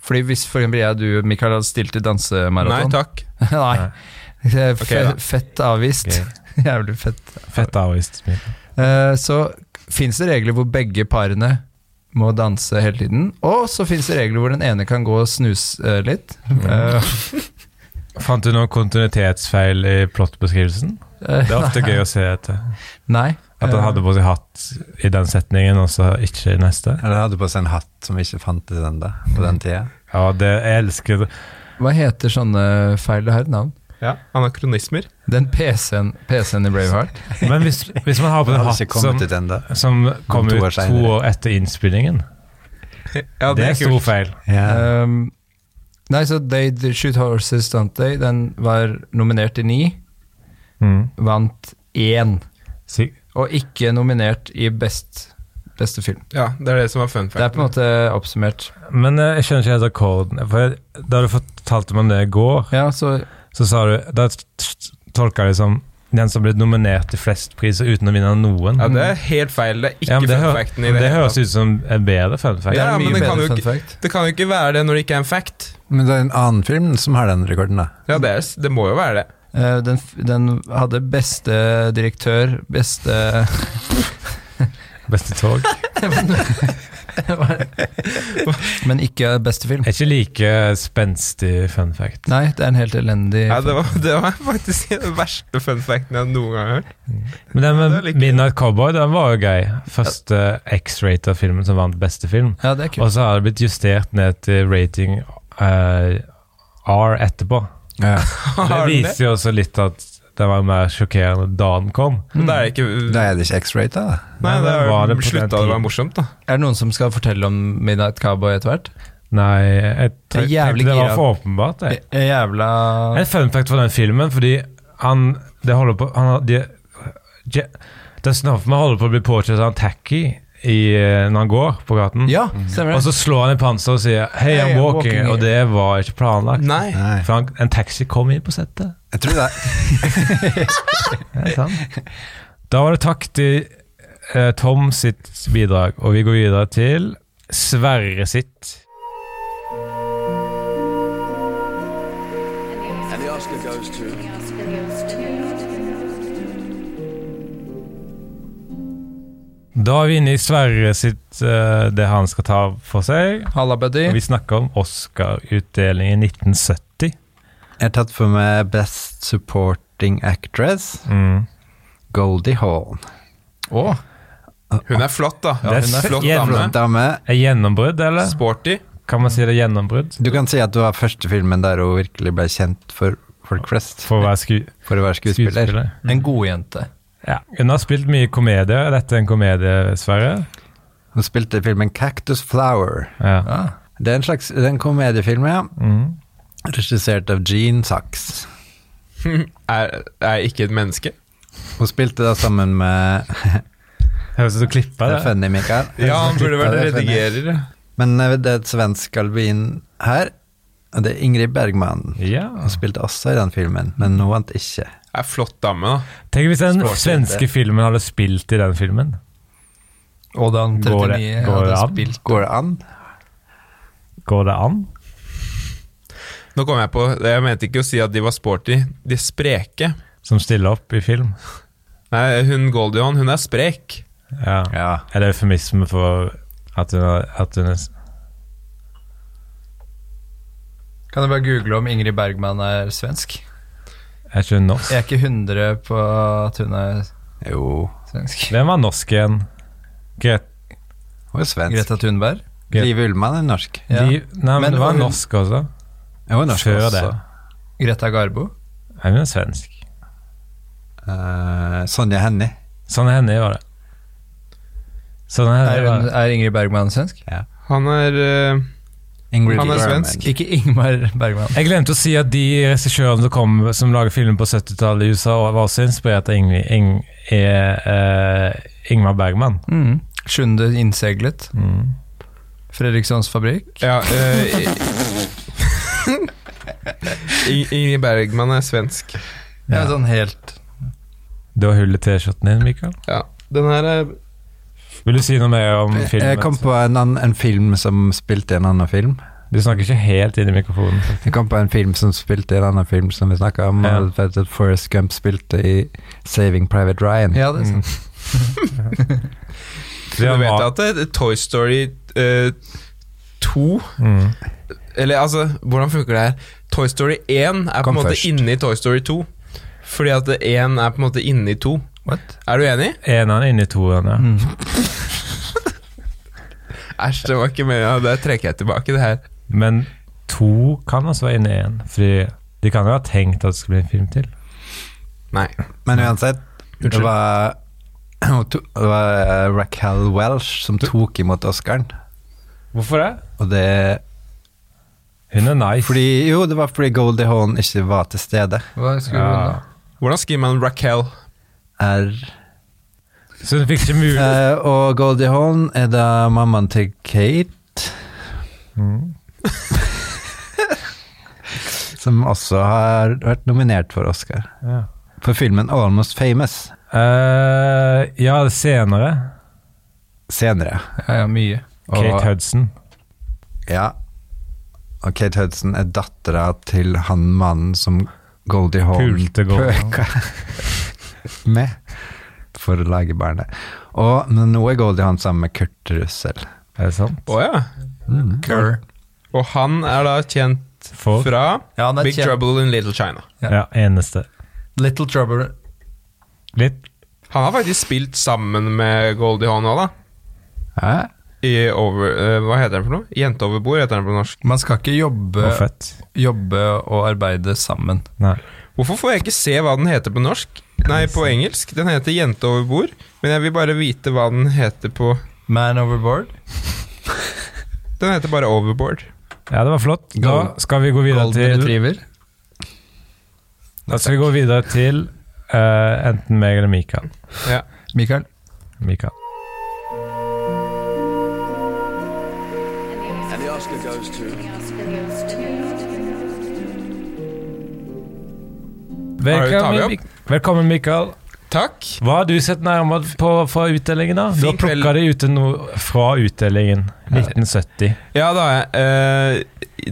Speaker 6: Fordi hvis for eksempel jeg og du, Mikael, hadde stilt i
Speaker 5: Nei
Speaker 6: dansemaraton
Speaker 5: takk.
Speaker 6: [laughs] Nei. Det er
Speaker 5: Ok,
Speaker 6: fe-
Speaker 5: da.
Speaker 6: fett avvist. [laughs] Jævlig fett.
Speaker 4: Fett avvist.
Speaker 6: Eh, så fins det regler hvor begge parene må danse hele tiden. Og så fins det regler hvor den ene kan gå og snuse eh, litt. Eh,
Speaker 4: Fant du noen kontinuitetsfeil i plottbeskrivelsen?
Speaker 6: eh,
Speaker 4: Det er ofte gøy å se etter.
Speaker 6: nei.
Speaker 4: At han
Speaker 6: Eh,
Speaker 4: hadde på seg hatt i den setningen, og så ikke i neste.
Speaker 7: Eller hadde på seg en hatt som ikke fantes ennå på den tida.
Speaker 4: Ja, det jeg elsker det.
Speaker 6: Eh, Hva heter sånne feil? Det har et navn.
Speaker 5: Ja, Anakronismer.
Speaker 6: Den PC-en PC i Braveheart.
Speaker 4: Men hvis, hvis man har på en
Speaker 7: Den hadde
Speaker 4: hatt
Speaker 7: ikke kommet
Speaker 4: som,
Speaker 7: ut ennå.
Speaker 4: som kom
Speaker 7: to
Speaker 4: ut
Speaker 7: år
Speaker 4: to
Speaker 7: senere.
Speaker 4: år etter innspillingen,
Speaker 5: Ja,
Speaker 4: det er stor feil.
Speaker 7: Ja.
Speaker 6: Um, nei, så They Do Shoot Horses Don't They, den var nominert til ni,
Speaker 4: Mm.
Speaker 6: vant én.
Speaker 4: Si-
Speaker 6: Og ikke nominert i best, beste film.
Speaker 5: Ja, det er det som er fun fact.
Speaker 6: Det er på en måte oppsummert.
Speaker 4: Men eh, jeg skjønner ikke helt akkorden. For jeg- da du fortalte meg om det i går,
Speaker 6: Ja, så
Speaker 4: så sa du Da t- t- tolka jeg det som den som ble nominert til flest priser uten å vinne noen.
Speaker 5: Ja, det er helt feil. Det er ikke
Speaker 4: Ja, men det,
Speaker 5: fun
Speaker 4: hø
Speaker 5: facten i det,
Speaker 4: det
Speaker 5: hele
Speaker 4: høres
Speaker 5: tatt.
Speaker 4: ut som en bedre fun fact.
Speaker 6: Det er
Speaker 5: Ja,
Speaker 6: en
Speaker 5: men
Speaker 6: mye
Speaker 5: det kan
Speaker 6: bedre
Speaker 5: jo
Speaker 6: fun
Speaker 5: ikke-
Speaker 6: fact.
Speaker 5: Det kan jo ikke være det når det ikke er en fact.
Speaker 7: Men det er en annen film som har den rekorden, da.
Speaker 5: Ja, det, er, det må jo være det.
Speaker 6: Eh, den, f- den hadde beste direktør, beste [laughs]
Speaker 4: Beste
Speaker 5: [laughs]
Speaker 4: tog.
Speaker 6: Men ikke beste film.
Speaker 4: Er ikke like eh, spenstig fun fact.
Speaker 6: Nei, det er en helt elendig
Speaker 5: Ja, det,
Speaker 6: film.
Speaker 5: var, det var faktisk [laughs] den verste fun facten jeg noen gang har hørt.
Speaker 4: Men den
Speaker 5: Ja, det er
Speaker 4: med
Speaker 5: like-
Speaker 4: Midnight Cowboy den var jo grei. Første X-rated-filmen som vant beste film.
Speaker 6: Ja, det er
Speaker 4: Og
Speaker 6: kult.
Speaker 4: så har det blitt justert ned til rating eh, R etterpå.
Speaker 7: Ja.
Speaker 4: Det
Speaker 5: Har den det?
Speaker 4: viser jo også litt at det var mer sjokkerende da den kom.
Speaker 5: Men Da er det ikke
Speaker 7: Da er det ikke X-rate, da.
Speaker 5: Nei,
Speaker 4: Nei,
Speaker 5: det
Speaker 4: men var
Speaker 5: er
Speaker 4: det
Speaker 5: jo
Speaker 4: på den
Speaker 5: slutta å
Speaker 4: tiden?
Speaker 5: være morsomt, da.
Speaker 6: Er det noen som skal fortelle om Midnight Cowboy etter hvert?
Speaker 4: Nei, jeg
Speaker 6: Det er
Speaker 4: tenkte
Speaker 6: jævlig
Speaker 4: det var
Speaker 6: gira.
Speaker 4: for åpenbart. Jeg.
Speaker 6: Eh, Jævla
Speaker 4: En fun fact for den filmen, fordi han Det holder på han, har- de, Je- Dustin Hoffman holder på å bli påkjørt av en taxi i, eh, når han går på gaten.
Speaker 6: Ja,
Speaker 5: Mm.
Speaker 6: stemmer
Speaker 4: Og
Speaker 6: det.
Speaker 4: så slår han i panseret og sier 'Hey,
Speaker 6: Hey,
Speaker 4: I'm
Speaker 6: I'm
Speaker 4: walking',
Speaker 6: walking.
Speaker 4: og det var ikke planlagt.
Speaker 5: Nei.
Speaker 7: Nei.
Speaker 4: For han, en taxi kom inn på settet.
Speaker 7: Jeg tror det.
Speaker 4: Det er sant. [laughs] Da var det takk til eh, Tom sitt bidrag, og vi går videre til Sverre sitt.
Speaker 2: And the Oscar goes to.
Speaker 4: Da er vi inne i Sverre sitt eh, det han skal ta for seg.
Speaker 6: Halla, buddy.
Speaker 4: Og vi snakker om Oscar-utdelingen i 1970.
Speaker 7: Jeg har tatt for meg Best Supporting Actress, Goldie Hawn.
Speaker 6: Å,
Speaker 5: Hun er flott, da.
Speaker 4: Det er
Speaker 5: hun er flott
Speaker 4: fett
Speaker 5: dame.
Speaker 7: Flott dame.
Speaker 4: Er gjennombrudd, eller?
Speaker 5: Sporty. [laughs]
Speaker 4: Kan man si det er gjennombrudd?
Speaker 7: Du kan si at det var første filmen der hun virkelig ble kjent for folk flest,
Speaker 4: For å være sku
Speaker 7: for å være skuespiller.
Speaker 4: skuespiller.
Speaker 6: en god jente.
Speaker 4: Ja. Hun har spilt mye komedie. Er dette en komedie, Sverre?
Speaker 7: Hun spilte i filmen Cactus Flower.
Speaker 4: Ja.
Speaker 6: Ah,
Speaker 7: Det er en slags det er en komediefilm, ja.
Speaker 4: Mm.
Speaker 7: Regissert av Gene Sachs.
Speaker 5: Er, er ikke et menneske?
Speaker 7: Hun spilte da sammen med
Speaker 4: Høres ut som klippa.
Speaker 7: Det er
Speaker 4: det.
Speaker 7: funny, Mikael.
Speaker 5: Ja, han burde vært
Speaker 7: Det er funny.
Speaker 5: redigerer.
Speaker 7: Men eh, det er et svensk albin her, og det er Ingrid Bergman.
Speaker 4: Ja.
Speaker 7: Hun spilte også i den filmen, men hun vant ikke.
Speaker 5: Er flott dame, da.
Speaker 4: Tenk hvis den
Speaker 7: Språklig,
Speaker 4: svenske
Speaker 7: det.
Speaker 4: filmen hadde spilt i den filmen.
Speaker 6: og da han
Speaker 4: Går det-
Speaker 6: 39
Speaker 4: går det
Speaker 6: hadde
Speaker 4: an?
Speaker 6: spilt
Speaker 7: Går det an?
Speaker 4: Går det an?
Speaker 5: Nå kom jeg på Jeg mente ikke å si at de var sporty. De er spreke.
Speaker 4: Som stiller opp i film.
Speaker 5: Nei, hun Goldion, hun er sprek.
Speaker 4: Ja.
Speaker 7: Ja.
Speaker 4: Er det eufemisme for at hun, har- at hun er s-
Speaker 6: Kan jeg bare google om Ingrid Bergman er svensk?
Speaker 4: Er ikke hun norsk?
Speaker 6: Jeg er ikke 100 på at hun er
Speaker 7: Jo,
Speaker 6: svensk.
Speaker 4: Hvem var norsk igjen? Gret...
Speaker 7: hun er svensk.
Speaker 6: Greta Thunberg?
Speaker 7: Liv Ullmann er norsk.
Speaker 6: Ja.
Speaker 4: De, nei, men,
Speaker 6: Men
Speaker 4: det var
Speaker 6: hun-
Speaker 4: norsk også.
Speaker 7: Hun er norsk
Speaker 4: Før
Speaker 7: også.
Speaker 4: det.
Speaker 6: Greta Garbo?
Speaker 4: Nei, hun er svensk.
Speaker 7: Eh, Sonja Hennie.
Speaker 4: Sånn er henne var det. Sånn er
Speaker 6: Er,
Speaker 4: henne var
Speaker 6: hun,
Speaker 4: det.
Speaker 6: er Ingrid Bergman svensk?
Speaker 5: Han er eh,
Speaker 7: Ingrid
Speaker 5: Han er
Speaker 7: Bergman. Eh,
Speaker 5: svensk.
Speaker 6: Ikke Ingmar Bergman.
Speaker 4: Jeg glemte å si at de regissørene som kom som lager film på 70-tallet i USA, var også inspirert av Ingrid, Ing, eh, eh, Ingmar Bergman.
Speaker 6: Mm. Sjunde innseglet.
Speaker 4: Mm.
Speaker 6: Fredrikssons fabrikk.
Speaker 5: Ja eh, [laughs] I- Ingrid Bergman er svensk.
Speaker 6: Ja. sånn helt
Speaker 4: Det var hull i T-skjorten din, Mikael.
Speaker 5: Ja. Den her er
Speaker 4: Vil du si noe mer om
Speaker 7: Jeg-
Speaker 4: filmen?
Speaker 7: Jeg kom på en, annen, en film som spilte i en annen film.
Speaker 4: Du snakker ikke helt inn i mikrofonen.
Speaker 7: Jeg kom på en film som spilte i en annen film som vi snakka om.
Speaker 4: Ja.
Speaker 7: og det var at Forrest Gump spilte i Saving Private Ryan.
Speaker 6: Ja, det er sant.
Speaker 4: Mm.
Speaker 5: Du vet at det, Toy Story eh, 2
Speaker 4: mm.
Speaker 5: Eller altså, hvordan funker det her? Toy Story 1 er på
Speaker 7: Kom
Speaker 5: en måte
Speaker 7: først.
Speaker 5: inne i Toy Story 2. Fordi at 1 er på en måte inne i 2.
Speaker 6: What?
Speaker 5: Er du enig?
Speaker 4: Eneren inn i toeren, ja.
Speaker 6: Mm.
Speaker 5: Æsj, det var ikke meningen. Det trekker jeg tilbake, det her.
Speaker 4: Men to kan også være inne i én, fordi de kan jo ha tenkt at det skal bli en film til.
Speaker 5: Nei.
Speaker 7: Men uansett, det
Speaker 5: Unnskyld.
Speaker 7: var, [clears throat] hun to- det var eh, Raquel Welsh som tok imot Oscaren.
Speaker 4: Hvorfor det?
Speaker 7: Og det
Speaker 4: Hun er nice.
Speaker 7: fordi, Jo, det var fordi Goldie Hawn ikke var til stede.
Speaker 6: Hva skulle
Speaker 4: Ja.
Speaker 6: hun da?
Speaker 5: Hvordan skriver man Raquel?
Speaker 7: Er,
Speaker 4: Så hun fikk ikke mulighet.
Speaker 7: Eh, og Goldie Hawn er da mammaen til Kate,
Speaker 4: Mm.
Speaker 7: [laughs] som også har vært nominert for Oscar.
Speaker 4: Ja.
Speaker 7: For filmen Almost Famous
Speaker 4: Eh, ja, senere.
Speaker 7: senere.
Speaker 6: Ja, ja, mye.
Speaker 4: Kate Hudson.
Speaker 7: Ja. Og Kate Hudson er dattera til han mannen som Goldie Hawn
Speaker 4: Pulte Goldie Hawn.
Speaker 7: pøka [laughs] med for å lage barnet. Og, men nå er Goldie Hawn sammen med Kurt Russell.
Speaker 4: Er det sant?
Speaker 5: Å ja.
Speaker 6: Girl.
Speaker 5: Og han er da kjent
Speaker 4: For?
Speaker 5: fra
Speaker 6: Ja, han er
Speaker 5: Big
Speaker 6: kjent-
Speaker 5: Trouble in Little China.
Speaker 4: Ja. eneste.
Speaker 6: Little Trouble.
Speaker 4: Litt.
Speaker 5: Han har faktisk spilt sammen med Goldie Hawn òg, da.
Speaker 7: Ja.
Speaker 5: I over, eh, hva heter den for noe? Jente over bord, heter den på norsk.
Speaker 6: Man skal ikke jobbe,
Speaker 4: Og født.
Speaker 6: jobbe og arbeide sammen.
Speaker 4: Nei.
Speaker 5: Hvorfor får jeg ikke se hva den heter på norsk? Nei, på engelsk. Den heter Jente over bord, men jeg vil bare vite hva den heter på
Speaker 6: Man overboard.
Speaker 5: Den heter bare Overboard.
Speaker 4: Ja, det var flott. Da
Speaker 6: Gold-
Speaker 4: skal vi gå videre
Speaker 6: Golden
Speaker 4: til
Speaker 6: retriever.
Speaker 4: Da skal vi gå videre til eh, enten meg eller Mikael.
Speaker 5: Ja.
Speaker 6: Mikael.
Speaker 4: Mikael.
Speaker 2: And the Oscar goes to.
Speaker 5: tar vi
Speaker 4: Velkommen,
Speaker 5: opp?
Speaker 4: Mik Velkommen Mikael.
Speaker 5: Takk.
Speaker 4: Hva har du sett nærmere på fra utdelingen, da? Du har
Speaker 5: Fin kveld.
Speaker 4: plukka deg ute noe fra utdelingen 1970.
Speaker 5: Ja, da har jeg eh,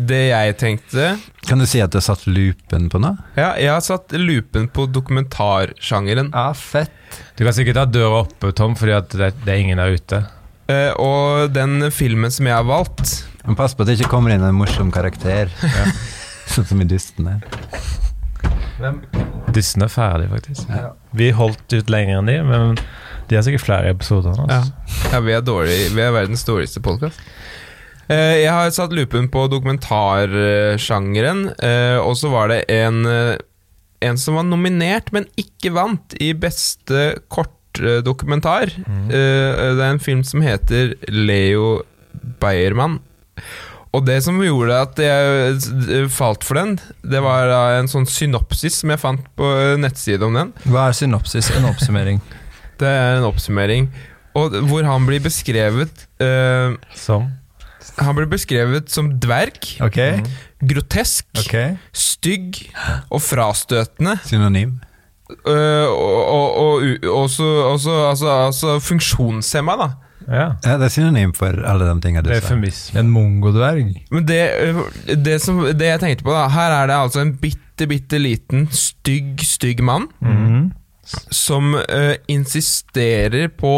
Speaker 5: Det jeg tenkte
Speaker 7: Kan du si at du har satt loopen på noe?
Speaker 5: Ja, jeg har satt lupen på dokumentarsjangeren.
Speaker 6: Ja, fett.
Speaker 4: Du kan sikkert ha døra oppe, Tom, fordi at det, det er ingen der ute.
Speaker 5: Eh, og den filmen som jeg har valgt
Speaker 7: Men pass på at det ikke kommer inn en morsom karakter. Sånn som i dysten her.
Speaker 4: Dyssen er ferdig, faktisk. Vi holdt ut lenger enn de, men de har sikkert flere episoder. nå,
Speaker 5: Ja,
Speaker 4: Altså.
Speaker 5: ja vi, er dårlig, vi er verdens dårligste podkast. jeg har satt lupen på dokumentarsjangeren, eh, og så var det en eh, en som var nominert, men ikke vant, i beste eh, kortdokumentar. Eh, det er en film som heter Leo Beiermann. Og det som gjorde at jeg eh, falt for den, det var da en sånn synopsis som jeg fant på eh, nettsiden om den.
Speaker 6: Hva er synopsis? En
Speaker 5: [laughs]
Speaker 6: oppsummering.
Speaker 5: Det er en oppsummering. Og d- hvor han blir beskrevet eh,
Speaker 4: Som Mm.
Speaker 5: Han blir beskrevet som dverg,
Speaker 6: Ok?
Speaker 5: grotesk,
Speaker 6: ok
Speaker 5: stygg og frastøtende.
Speaker 7: Synonym.
Speaker 5: Eh, og, og, og, u- også, også, altså, altså funksjonshemma, da.
Speaker 4: Ja.
Speaker 7: Ja, det er synonym for alle de tingene du
Speaker 4: Det er
Speaker 7: sa.
Speaker 4: eufemisme.
Speaker 6: En mongodverg?
Speaker 5: Men det, eh, det, som, det jeg tenkte på, da Her er det altså en bitte, bitte liten, stygg, stygg mann
Speaker 6: Mm.
Speaker 4: Mm.
Speaker 5: som eh, insisterer på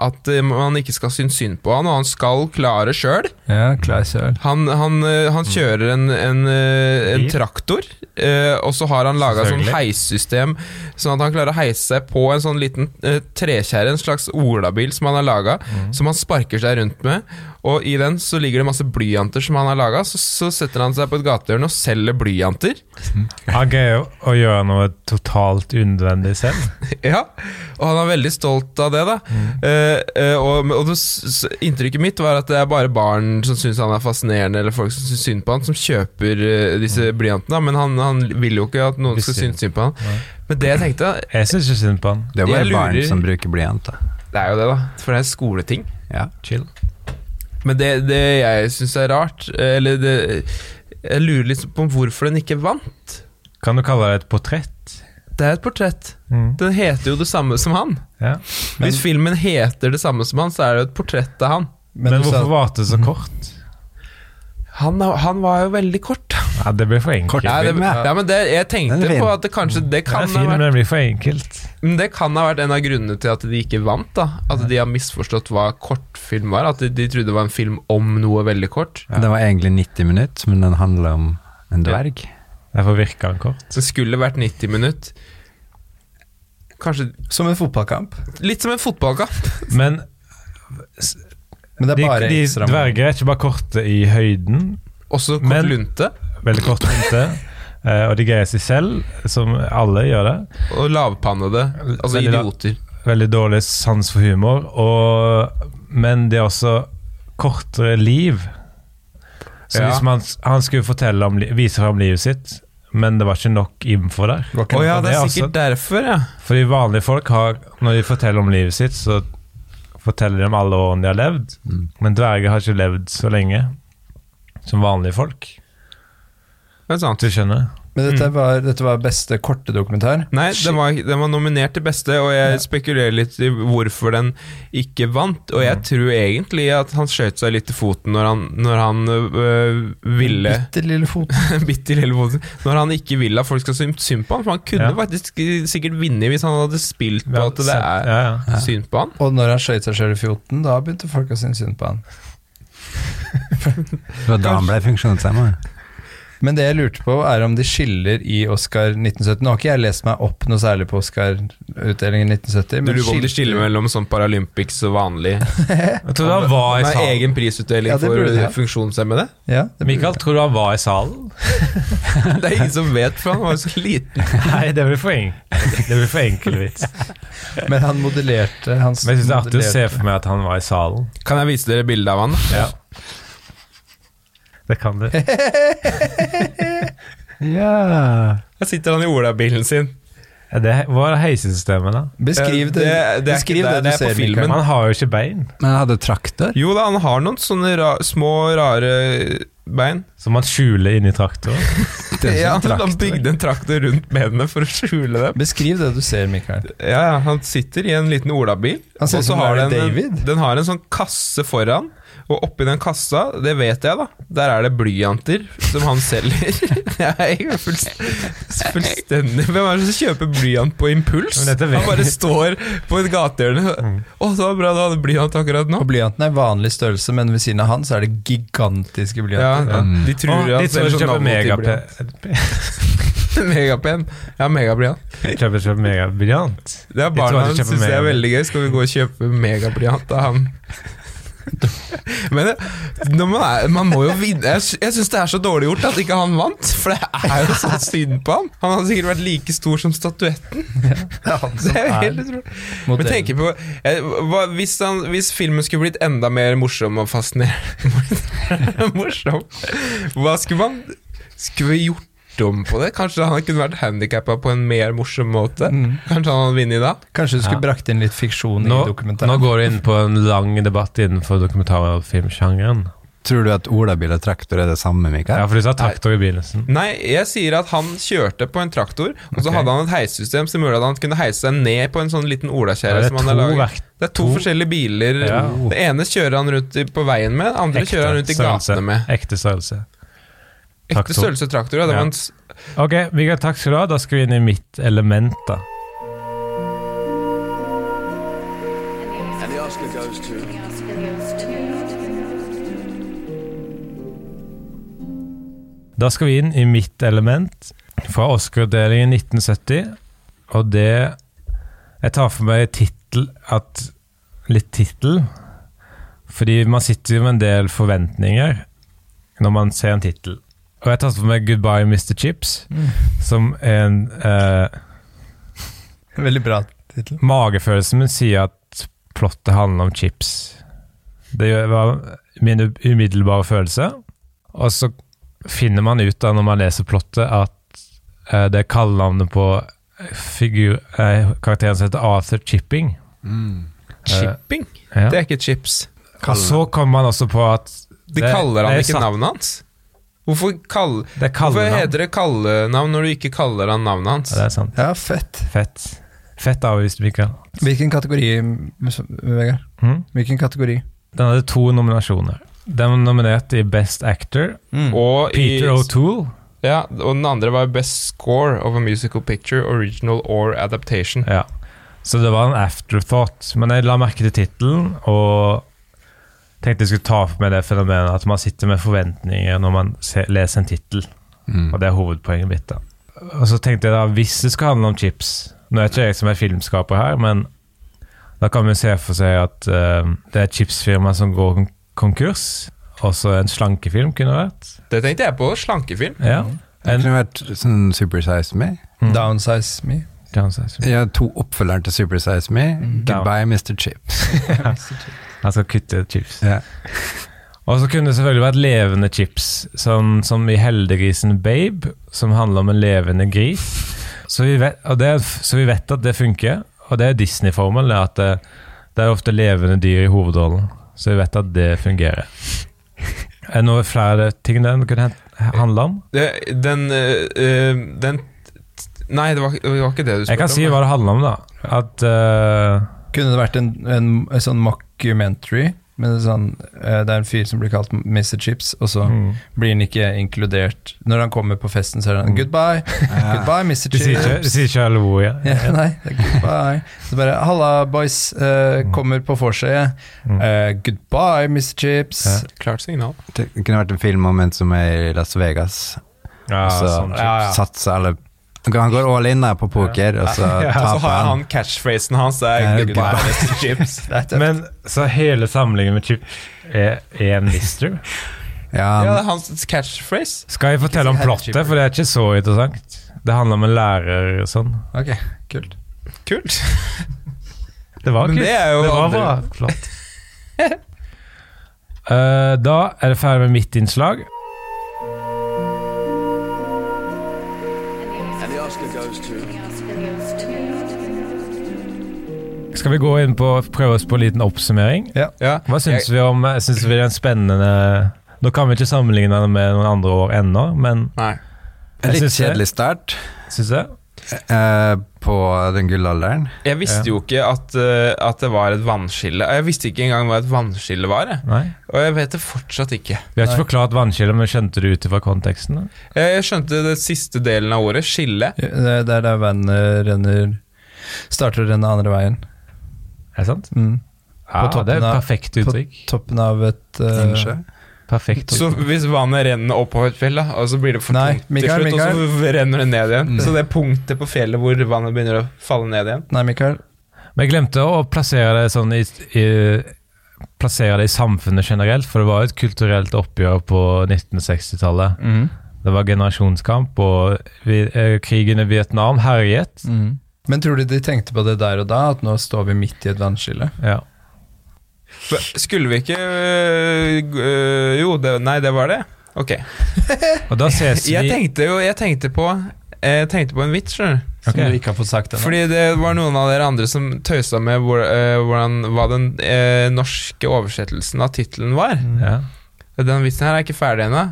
Speaker 5: at eh, man ikke skal synes synd på han, og han skal klare sjøl.
Speaker 6: Ja, klar søl.
Speaker 5: Han, han, eh, han kjører en, en, eh, en traktor, eh, og så har han laga sånn
Speaker 4: Selvfølgelig.
Speaker 5: heissystem, sånn at han klarer å heise seg på en sånn liten eh, trekjerre, en slags olabil som han har laga,
Speaker 4: Mm.
Speaker 5: som han sparker seg rundt med. Og i den så ligger det masse blyanter som han har laga, så, så setter han seg på et gatehjørne og selger blyanter. [laughs]
Speaker 4: Han greier å gjøre noe totalt unødvendig selv.
Speaker 5: Ja, og han er veldig stolt av det, da. Eh, eh, og og det, s- s- inntrykket mitt var at det er bare barn som syns han er fascinerende, eller folk som syns synd på han, som kjøper eh, disse blyantene. da. Men han, han vil jo ikke at noen
Speaker 4: Blir
Speaker 5: skal
Speaker 4: synd.
Speaker 5: synes synd på han.
Speaker 4: Nei.
Speaker 5: Men det jeg tenkte, da,
Speaker 4: Jeg syns ikke synd på han.
Speaker 7: Det er
Speaker 5: Jeg
Speaker 7: bare
Speaker 5: lurer-
Speaker 7: barn som bruker blyant, da.
Speaker 5: det er jo det, da. For det er skoleting.
Speaker 7: Ja.
Speaker 4: Chill.
Speaker 5: Men det, det jeg syns er rart, eh, eller det Jeg lurer litt på hvorfor den ikke vant.
Speaker 4: Kan du kalle det et portrett?
Speaker 5: Det er et portrett.
Speaker 4: Mm.
Speaker 5: Den heter jo det samme som han.
Speaker 4: Ja.
Speaker 5: Hvis filmen heter det samme som han, så er det jo et portrett av han.
Speaker 4: Men,
Speaker 6: du sa-
Speaker 4: hvorfor varte det så kort?
Speaker 5: Han, han var jo veldig kort. da.
Speaker 4: Ja, det blir for enkelt.
Speaker 5: Ja, det,
Speaker 7: film, ja.
Speaker 5: ja, men det, jeg
Speaker 7: Den
Speaker 5: tenkte
Speaker 7: er fin.
Speaker 5: på at det kanskje det
Speaker 4: Det
Speaker 5: kan,
Speaker 4: er
Speaker 5: ha
Speaker 4: fint, men
Speaker 5: vært,
Speaker 4: det blir for enkelt.
Speaker 5: men det kan ha vært en av grunnene til at de ikke vant. da At de har misforstått hva kortfilm var. At de, de trodde det var en film om noe veldig kort.
Speaker 7: Den var egentlig 90 minutter, men den handler om en dverg.
Speaker 4: Derfor virker han kort.
Speaker 5: Det skulle vært 90 minutter. Kanskje
Speaker 6: Som en fotballkamp.
Speaker 5: litt som en fotballkamp. [laughs]
Speaker 4: Men
Speaker 6: Men det er
Speaker 4: de,
Speaker 6: bare
Speaker 4: de
Speaker 6: ekstra
Speaker 4: dverger er ikke bare korte i høyden,
Speaker 5: Også kort
Speaker 4: Men-
Speaker 5: lunte
Speaker 4: veldig kort runde, eh, og de greier seg selv, som alle gjør det.
Speaker 5: og lavpannede. Altså
Speaker 4: Veldig lav-
Speaker 5: idioter.
Speaker 4: Veldig dårlig sans for humor, og, men de har også kortere liv. Så
Speaker 5: Ja.
Speaker 4: hvis man, han skulle fortelle om, li- vise fram livet sitt, men det var ikke nok info der.
Speaker 6: Går
Speaker 5: Å
Speaker 6: ikke
Speaker 5: ja,
Speaker 4: men
Speaker 5: det
Speaker 4: det
Speaker 5: er
Speaker 4: er
Speaker 5: sikkert derfor, ja.
Speaker 4: Fordi vanlige folk har, når de forteller om livet sitt, så forteller de om alle årene de har levd. Men dverger har ikke levd så lenge som vanlige folk.
Speaker 5: Det er sant.
Speaker 4: Du skjønner?
Speaker 6: Men dette
Speaker 4: Mm.
Speaker 6: var, dette var beste korte dokumentar.
Speaker 5: Nei, den var, den var nominert til beste, og jeg spekulerer litt i hvorfor den ikke vant. Og jeg tror egentlig at han skjøt seg litt i foten når han, når han øh, ville
Speaker 6: Bitte lille fot.
Speaker 5: [laughs] Bitte lille foten. Når han ikke ville at folk skal synes synd på han, for han kunne
Speaker 4: Ja.
Speaker 5: faktisk sikkert vinne hvis han hadde spilt på
Speaker 4: Ja,
Speaker 5: at det er
Speaker 4: ja, ja.
Speaker 5: synd på han.
Speaker 6: Og når han skøyt seg sjøl i fjoten, da begynte folk å synes synd på han.
Speaker 7: Det var da han ble funksjonshemma.
Speaker 6: Men det jeg lurte på, er om de skiller i Oscar 1970. Nå har ikke jeg lest meg opp noe særlig på Oscar-utdelingen 1970.
Speaker 5: Du lurer på om de skiller mellom sånn Paralympics og vanlig
Speaker 4: Jeg tror han var i
Speaker 5: Nei,
Speaker 4: salen.
Speaker 5: egen prisutdeling
Speaker 6: Ja, det
Speaker 5: for
Speaker 6: burde de ha.
Speaker 5: funksjonshemmede?
Speaker 6: Ja, det blir-
Speaker 4: Mikael, tror du han var i salen?
Speaker 5: Det er ingen som vet, for han var jo så liten.
Speaker 4: [laughs] Nei, det blir for, en, [laughs] det blir for enkel vits.
Speaker 6: Men han modellerte hans
Speaker 4: Men jeg syns det er artig å
Speaker 6: modellerte-
Speaker 4: se for meg at han var i salen.
Speaker 5: Kan jeg vise dere bilde av han?
Speaker 4: Ja. Det kan du.
Speaker 7: Ja.
Speaker 5: Her sitter han i olabilen sin.
Speaker 4: [laughs] Er det, hva er heisesystemet, da?
Speaker 6: Beskriv det,
Speaker 5: Eh, Det- det er ikke
Speaker 6: beskriv
Speaker 5: der,
Speaker 6: det,
Speaker 5: det er
Speaker 6: du
Speaker 5: på
Speaker 6: ser,
Speaker 5: filmen.
Speaker 6: Mikael.
Speaker 4: Han har jo ikke bein,
Speaker 7: Men han hadde traktor.
Speaker 5: Jo da, han har noen sånne ra små, rare bein.
Speaker 4: som han skjuler inni traktoren.
Speaker 5: [laughs] Ja,
Speaker 6: sånn
Speaker 5: han bygde en traktor rundt benene for å skjule dem.
Speaker 6: Beskriv det du ser, Mikael.
Speaker 5: Ja, ja, Han sitter i en liten olabil.
Speaker 6: Han
Speaker 5: og
Speaker 6: ser ut
Speaker 5: så
Speaker 6: som
Speaker 5: har
Speaker 6: Larry
Speaker 5: den,
Speaker 6: David.
Speaker 5: den har en sånn kasse foran, og oppi den kassa, det vet jeg, da, der er det blyanter som han selger.
Speaker 6: [laughs]
Speaker 5: Det er jo fullst, fullstendig Hvem er det som kjøper blyant på impuls?
Speaker 4: Men dette vet Mm.
Speaker 5: Han bare står på et gatehjørne. 'Å, det var bra du hadde blyant akkurat nå'.
Speaker 6: Og blyanten er vanlig størrelse, men ved siden av han så er det gigantiske
Speaker 5: Ja,
Speaker 6: blyanter.
Speaker 5: De
Speaker 4: mm.
Speaker 5: tror
Speaker 4: Å,
Speaker 5: han
Speaker 4: de tror
Speaker 5: selger
Speaker 4: ikke
Speaker 5: sånn
Speaker 4: kjøper
Speaker 5: navnotiblyant.
Speaker 4: megapen.
Speaker 5: [laughs] Megapen. Ja, megablyant.
Speaker 4: Kjøper kjøper megabryant.
Speaker 5: Det er
Speaker 4: Jeg tror
Speaker 5: barna
Speaker 4: han
Speaker 5: hans
Speaker 4: kjøper
Speaker 5: syns det er
Speaker 4: megablyant.
Speaker 5: veldig gøy. Skal vi gå og kjøpe megablyant av han? [laughs] Men eh, når man, er, man må jo vinne Jeg, sy- jeg syns det er så dårlig gjort at ikke han vant, for det er jo så synd på ham. Han hadde sikkert vært like stor som statuetten. Det er jo helt utrolig. Men tenker på eh, hva, hvis, han, hvis filmen skulle blitt enda mer morsom og fascinerende [laughs] Morsom Hva skulle man Skulle vi gjort om på det? Kanskje han kunne vært handikappa på en mer morsom måte?
Speaker 4: Mm.
Speaker 5: Kanskje han hadde vunnet da?
Speaker 6: Kanskje du skulle brakt inn litt fiksjon
Speaker 4: Nå,
Speaker 6: i
Speaker 4: nå
Speaker 6: dokumentaren.
Speaker 4: går du inn på en lang debatt innenfor dokumentarfilmsjangeren.
Speaker 7: Tror du at olabil og traktor er det samme,
Speaker 4: Ja,
Speaker 7: Mikael?
Speaker 4: for de sa traktor i begynnelsen.
Speaker 5: Nei, jeg sier at han kjørte på en traktor, og så
Speaker 4: Ok.
Speaker 5: hadde han et heissystem som gjorde at han kunne heise seg ned på en sånn liten
Speaker 4: Ja,
Speaker 5: olakjerre
Speaker 4: det er
Speaker 5: som han har
Speaker 4: to
Speaker 5: laget.
Speaker 4: verk-
Speaker 5: det er to,
Speaker 4: to-
Speaker 5: forskjellige biler.
Speaker 4: Ja.
Speaker 5: Det ene kjører han rundt i- på veien med, det andre kjører han rundt i gatene med.
Speaker 4: Ekte størrelse.
Speaker 5: Ekte
Speaker 4: Traktor.
Speaker 5: størrelse traktor, ja. Det
Speaker 4: Ja.
Speaker 5: var en s-
Speaker 4: Ok, Mikael, takk skal du ha. Da skal vi inn i mitt element, da.
Speaker 2: And the Oscar goes to.
Speaker 4: Da skal vi inn i mitt element fra Oscar-utdelingen 1970. Og det Jeg tar for meg tittel at Litt tittel. Fordi man sitter jo med en del forventninger når man ser en tittel. Og jeg tar for meg 'Goodbye, Mr. Chips', som er en eh,
Speaker 6: Veldig bra tittel.
Speaker 4: Magefølelsen min sier at plottet handler om chips. Det gjør- var min umiddelbare følelse. Og så finner man ut da, når man leser plottet, at eh, det er kallenavnet på figur, eh, karakteren som heter Arthur Chipping.
Speaker 7: Mm.
Speaker 4: Eh,
Speaker 5: chipping.
Speaker 4: ja.
Speaker 5: Det er ikke chips.
Speaker 4: Og så kommer man også på at
Speaker 5: De
Speaker 4: det-
Speaker 5: kaller
Speaker 4: det
Speaker 5: han
Speaker 4: er
Speaker 5: ikke
Speaker 4: satt-
Speaker 5: navnet hans. Hvorfor, kall,
Speaker 4: Det er
Speaker 5: hvorfor
Speaker 4: kallenavn.
Speaker 5: heter det kallenavn når du ikke kaller han navnet hans?
Speaker 4: Ja, det er sant.
Speaker 6: Ja, fett.
Speaker 4: Fett. Fett avvist, Mikael.
Speaker 6: Hvilken kategori, Vegard?
Speaker 4: Mhm.
Speaker 6: Hvilken kategori?
Speaker 4: Den hadde to nominasjoner. Den var nominert i Best Actor.
Speaker 5: Og, i,
Speaker 4: Peter O'Toole.
Speaker 5: ja, og den andre var Best Score of a Musical Picture, Original or Adaptation.
Speaker 4: Ja. Så det var en afterthought. Men jeg la merke til tittelen, og tenkte jeg skulle ta opp med det fenomenet at man sitter med forventninger når man se- leser en tittel. Og det er hovedpoenget mitt. da. Og så tenkte jeg da, hvis det skal handle om chips Nå er ikke jeg som er filmskaper her, men da kan vi se for seg at eh, det er et chipsfirma som går kon- konkurs. Også en slankefilm kunne vært.
Speaker 5: Det tenkte jeg på. Slankefilm.
Speaker 4: Ja.
Speaker 7: Det
Speaker 4: En,
Speaker 7: kunne vært sånn Super Size Me.
Speaker 6: Mm. Downsize me.
Speaker 4: Mm.
Speaker 7: Jeg har to oppfølgere til Super Size Me. Goodbye, Mr. Chips. [laughs]
Speaker 4: han skal kutte chips.
Speaker 7: Ja.
Speaker 4: Og så kunne det selvfølgelig vært levende chips, sånn som i Heldiggrisen Babe, som handler om en levende gris. Så vi vet, og det, er- så vi vet at det funker, og det er Disney-formelen, det er at det, det er ofte levende dyr i hovedrollen. Så vi vet at det fungerer. Er det noe flere ting den kunne hen- handle om?
Speaker 5: Det, den, eh, eh, den t- Nei, det var, det var ikke det du spurte
Speaker 4: Jeg kan si
Speaker 5: om.
Speaker 4: hva det handler om, da. At eh,
Speaker 6: Kunne det vært en, en, en sånn mockumentary? Med sånn, eh, det er en fyr som blir kalt Mr. Chips, og
Speaker 4: Mm.
Speaker 6: så blir han ikke inkludert. Når han kommer på festen, så er han
Speaker 4: [laughs]
Speaker 6: 'goodbye', 'goodbye,
Speaker 4: Mm.
Speaker 6: Mr.
Speaker 4: Du sier ikke,
Speaker 6: Chips'.
Speaker 4: du sier ikke alle hvor, ja.
Speaker 6: Ja, nei, det er goodbye. Så bare 'halla, boys', eh, kommer på vorset. Eh, 'Goodbye, Mr. Chips'.
Speaker 4: Ja.
Speaker 5: Klart signal.
Speaker 7: Det kunne vært en film om en som er i Las Vegas.
Speaker 4: ja
Speaker 7: Og så
Speaker 4: sånn.
Speaker 7: satser alle Han går all in der på poker, og så
Speaker 5: [laughs] Så
Speaker 7: taper
Speaker 5: har
Speaker 7: han.
Speaker 5: han catchphrasen hans er
Speaker 7: Ja,
Speaker 5: 'goodbye,
Speaker 7: goodbye.
Speaker 5: Mr. Chips'.
Speaker 6: Det er tøft.
Speaker 4: Men så hele samlingen med chip er én mister?
Speaker 7: Ja,
Speaker 5: Ja, det
Speaker 7: han
Speaker 5: er hans catchphrase.
Speaker 4: Skal jeg fortelle om
Speaker 6: Ikke si
Speaker 4: plottet,
Speaker 6: herrechipper.
Speaker 4: for det er ikke så interessant. Det handler om en lærer og sånn.
Speaker 6: Ok, kult.
Speaker 5: Kult.
Speaker 4: Det var
Speaker 5: Men
Speaker 4: kult.
Speaker 5: det er jo
Speaker 4: var
Speaker 5: andre-
Speaker 4: bra. Flott. [laughs] Eh, da er det ferdig med mitt innslag.
Speaker 2: And the Oscar goes to.
Speaker 4: Skal vi gå inn på prøve oss på en liten oppsummering?
Speaker 5: Ja.
Speaker 4: Hva syns
Speaker 5: Jeg-
Speaker 4: vi om eh, Syns vi det er en spennende Nå kan vi ikke sammenligne det med noen andre år ennå, men
Speaker 5: Nei.
Speaker 7: en
Speaker 4: jeg
Speaker 7: litt
Speaker 4: syns det-
Speaker 7: kjedelig start
Speaker 4: syns jeg.
Speaker 7: eh, på den gullalderen.
Speaker 5: Jeg visste jo ikke at, eh, at det var et vannskille. Jeg visste ikke engang hva et vannskille var. jeg.
Speaker 4: Nei.
Speaker 5: Og jeg vet det fortsatt ikke.
Speaker 4: Vi har ikke forklart vannskillet, men skjønte det ut ifra konteksten? da?
Speaker 5: Jeg jeg skjønte det siste delen av ordet, skille.
Speaker 6: Ja, Det er der vannet renner Starter å renne andre veien.
Speaker 4: Er det sant?
Speaker 6: Mm.
Speaker 4: Ja,
Speaker 6: toppen
Speaker 4: det er et
Speaker 6: av-
Speaker 4: perfekt
Speaker 6: På
Speaker 4: uttrykk.
Speaker 6: toppen av et eh,
Speaker 7: Innsjø.
Speaker 6: [laughs]
Speaker 4: Perfekt
Speaker 5: Så hvis vannet renner oppover et fjell, da, og så blir det for
Speaker 6: Nei,
Speaker 5: tungt
Speaker 6: Mikael, Mm.
Speaker 5: til slutt, og så renner det ned igjen. Så det punktet på fjellet hvor vannet begynner å falle ned igjen
Speaker 6: Nei, Mikael.
Speaker 4: Men jeg glemte å plassere det sånn i, i plassere det i samfunnet generelt, for det var jo et kulturelt oppgjør på 1960-tallet. Det var generasjonskamp, og vi, eh, krigen i Vietnam herjet.
Speaker 6: Men tror du de tenkte på det der og da, at nå står vi midt i et vannskille?
Speaker 4: Ja.
Speaker 5: Hva- Skulle vi ikke øh, g- øh, Jo, det, nei, det var det. Ok.
Speaker 4: Og da
Speaker 5: [laughs]
Speaker 4: ses vi
Speaker 5: Jeg tenkte jo Jeg tenkte på Jeg tenkte på en vits, skjønner du.
Speaker 6: Som
Speaker 4: Ok.
Speaker 6: du ikke har fått sagt ennå?
Speaker 5: Fordi det var noen av dere andre som tøysa med hvor, eh, hvordan hva den eh, norske oversettelsen av tittelen var.
Speaker 4: ja.
Speaker 5: Den vitsen her er ikke ferdig ennå.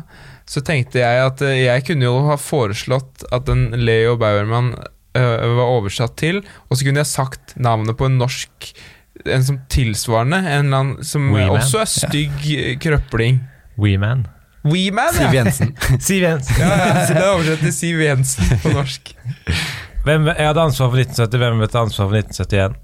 Speaker 5: Så tenkte jeg at eh, jeg kunne jo ha foreslått at den Leo Bauermann eh, var oversatt til, og så kunne jeg sagt navnet på en norsk en som tilsvarende, en eller annen som
Speaker 4: Wee Man.
Speaker 5: også er stygg eh, krøpling.
Speaker 4: Weeman.
Speaker 5: Weeman,
Speaker 7: Siv
Speaker 5: ja!
Speaker 7: Jensen.
Speaker 4: Siv Jensen.
Speaker 5: ja, ja så det er oversatt til Siv Jensen på norsk.
Speaker 4: Hvem, jeg hadde ansvar for 1970, hvem vil ta ansvar for 1971?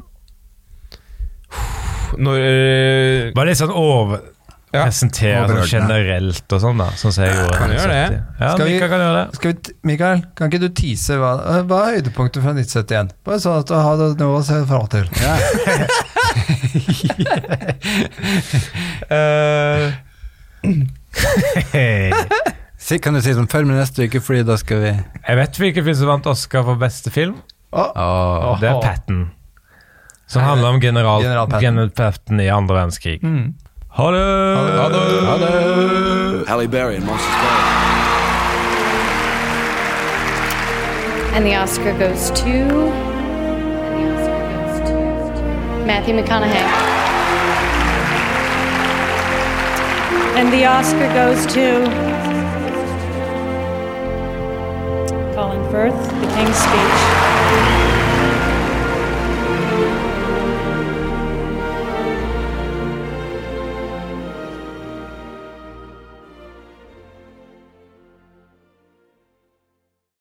Speaker 5: Når, eh,
Speaker 4: Bare litt sånn over...
Speaker 5: Ja.
Speaker 4: Presentere sånn generelt og sånn, da. Sånn som jeg gjorde.
Speaker 5: Kan gjøre det.
Speaker 4: 1970. Ja,
Speaker 6: Skal vi-
Speaker 4: Mika kan gjøre det.
Speaker 6: Skal vi, t- Mikael, kan ikke du tease hva, hva er høydepunktet fra 1971? Bare sånn at du har det- noe å se fram til.
Speaker 5: eh,
Speaker 7: Si, kan du si sånn, følg med neste uke, fordi da skal vi
Speaker 4: Jeg vet hvilken film som vant Oscar for beste film.
Speaker 7: Åh.
Speaker 4: Det er Patten. Som handler om general,
Speaker 6: General
Speaker 4: general,
Speaker 6: Patton.
Speaker 4: Patton. i andre verdenskrig. Ha det!
Speaker 6: Ha det! Ha det!
Speaker 2: Halle Berry and Monsters Ball.
Speaker 1: And the Oscar goes to. And the Oscar goes to. Matthew McConaughey.
Speaker 3: And the Oscar goes to Colin Firth, The King's Speech.